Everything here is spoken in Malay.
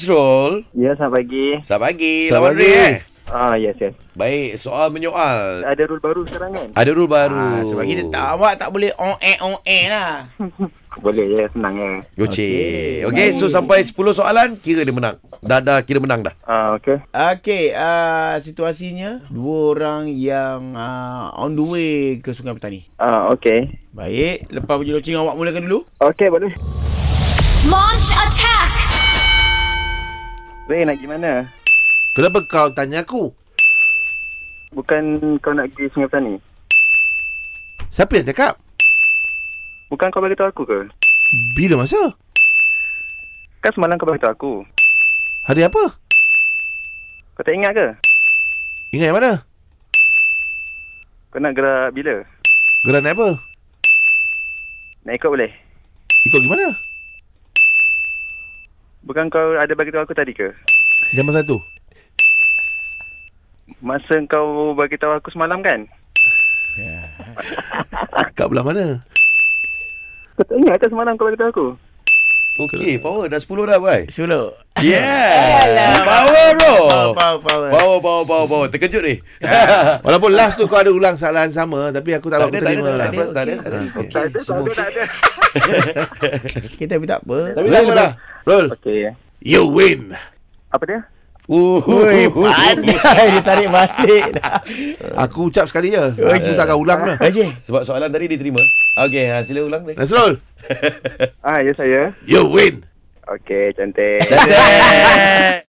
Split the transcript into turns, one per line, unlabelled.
Nasrul.
Ya, selamat pagi.
Selamat pagi. Lawan
Selamat
Ray
pagi.
eh.
Ah, yes, yes.
Baik, soal menyoal.
Ada rule baru sekarang kan?
Ada rule baru.
Ah, sebab kita tak, awak tak boleh on air on air lah.
Boleh, ya. Senang, ya.
Gocek. Okey, okay, so sampai 10 soalan kira dia menang. Dah dah kira menang dah.
Ah, okay.
Okey, uh, situasinya dua orang yang uh, on the way ke Sungai Petani.
Ah, okay.
Baik, lepas bunyi loceng awak mulakan dulu.
Okay, boleh.
Launch attack!
Ray, nak pergi mana?
Kenapa kau tanya aku?
Bukan kau nak pergi Sungai Petani?
Siapa yang cakap?
Bukan kau bagi tahu aku ke?
Bila masa?
Kan semalam kau bagi tahu aku.
Hari apa?
Kau tak ingat ke?
Ingat yang mana?
Kau nak gerak bila?
Gerak naik apa?
Nak ikut boleh?
Ikut gimana?
Bukan kau ada bagi tahu aku tadi ke?
Jaman satu.
Masa kau bagi tahu aku semalam kan?
Ah.
Kat belah mana?
Kau tak ingat kan semalam kau bagi tahu aku?
Okey, power dah 10 dah, bye.
Solo.
Yeah. Power bro.
Power, power, power.
Power, power, power, power. Terkejut ni.
Walaupun last tu kau ada ulang soalan sama tapi aku tak,
Tak
aku
ada, tak ada, tak
terima lah.
ada, tak ada, tak ada.
Okey.
Okey, semua
tak ada.
Okay, tapi tak apa.
Tapi tak apa lah. Rul,
Okay.
you win.
Apa dia?
Ui,
Pandai dia tarik balik dah.
Aku ucap sekali je. Aku tak akan ulang lah.
Haji,
Sebab soalan tadi diterima. Okey, ha, sila ulang ni.
Nasrul,
Ah, ya saya.
you win.
Okay, cantik.
Cantik.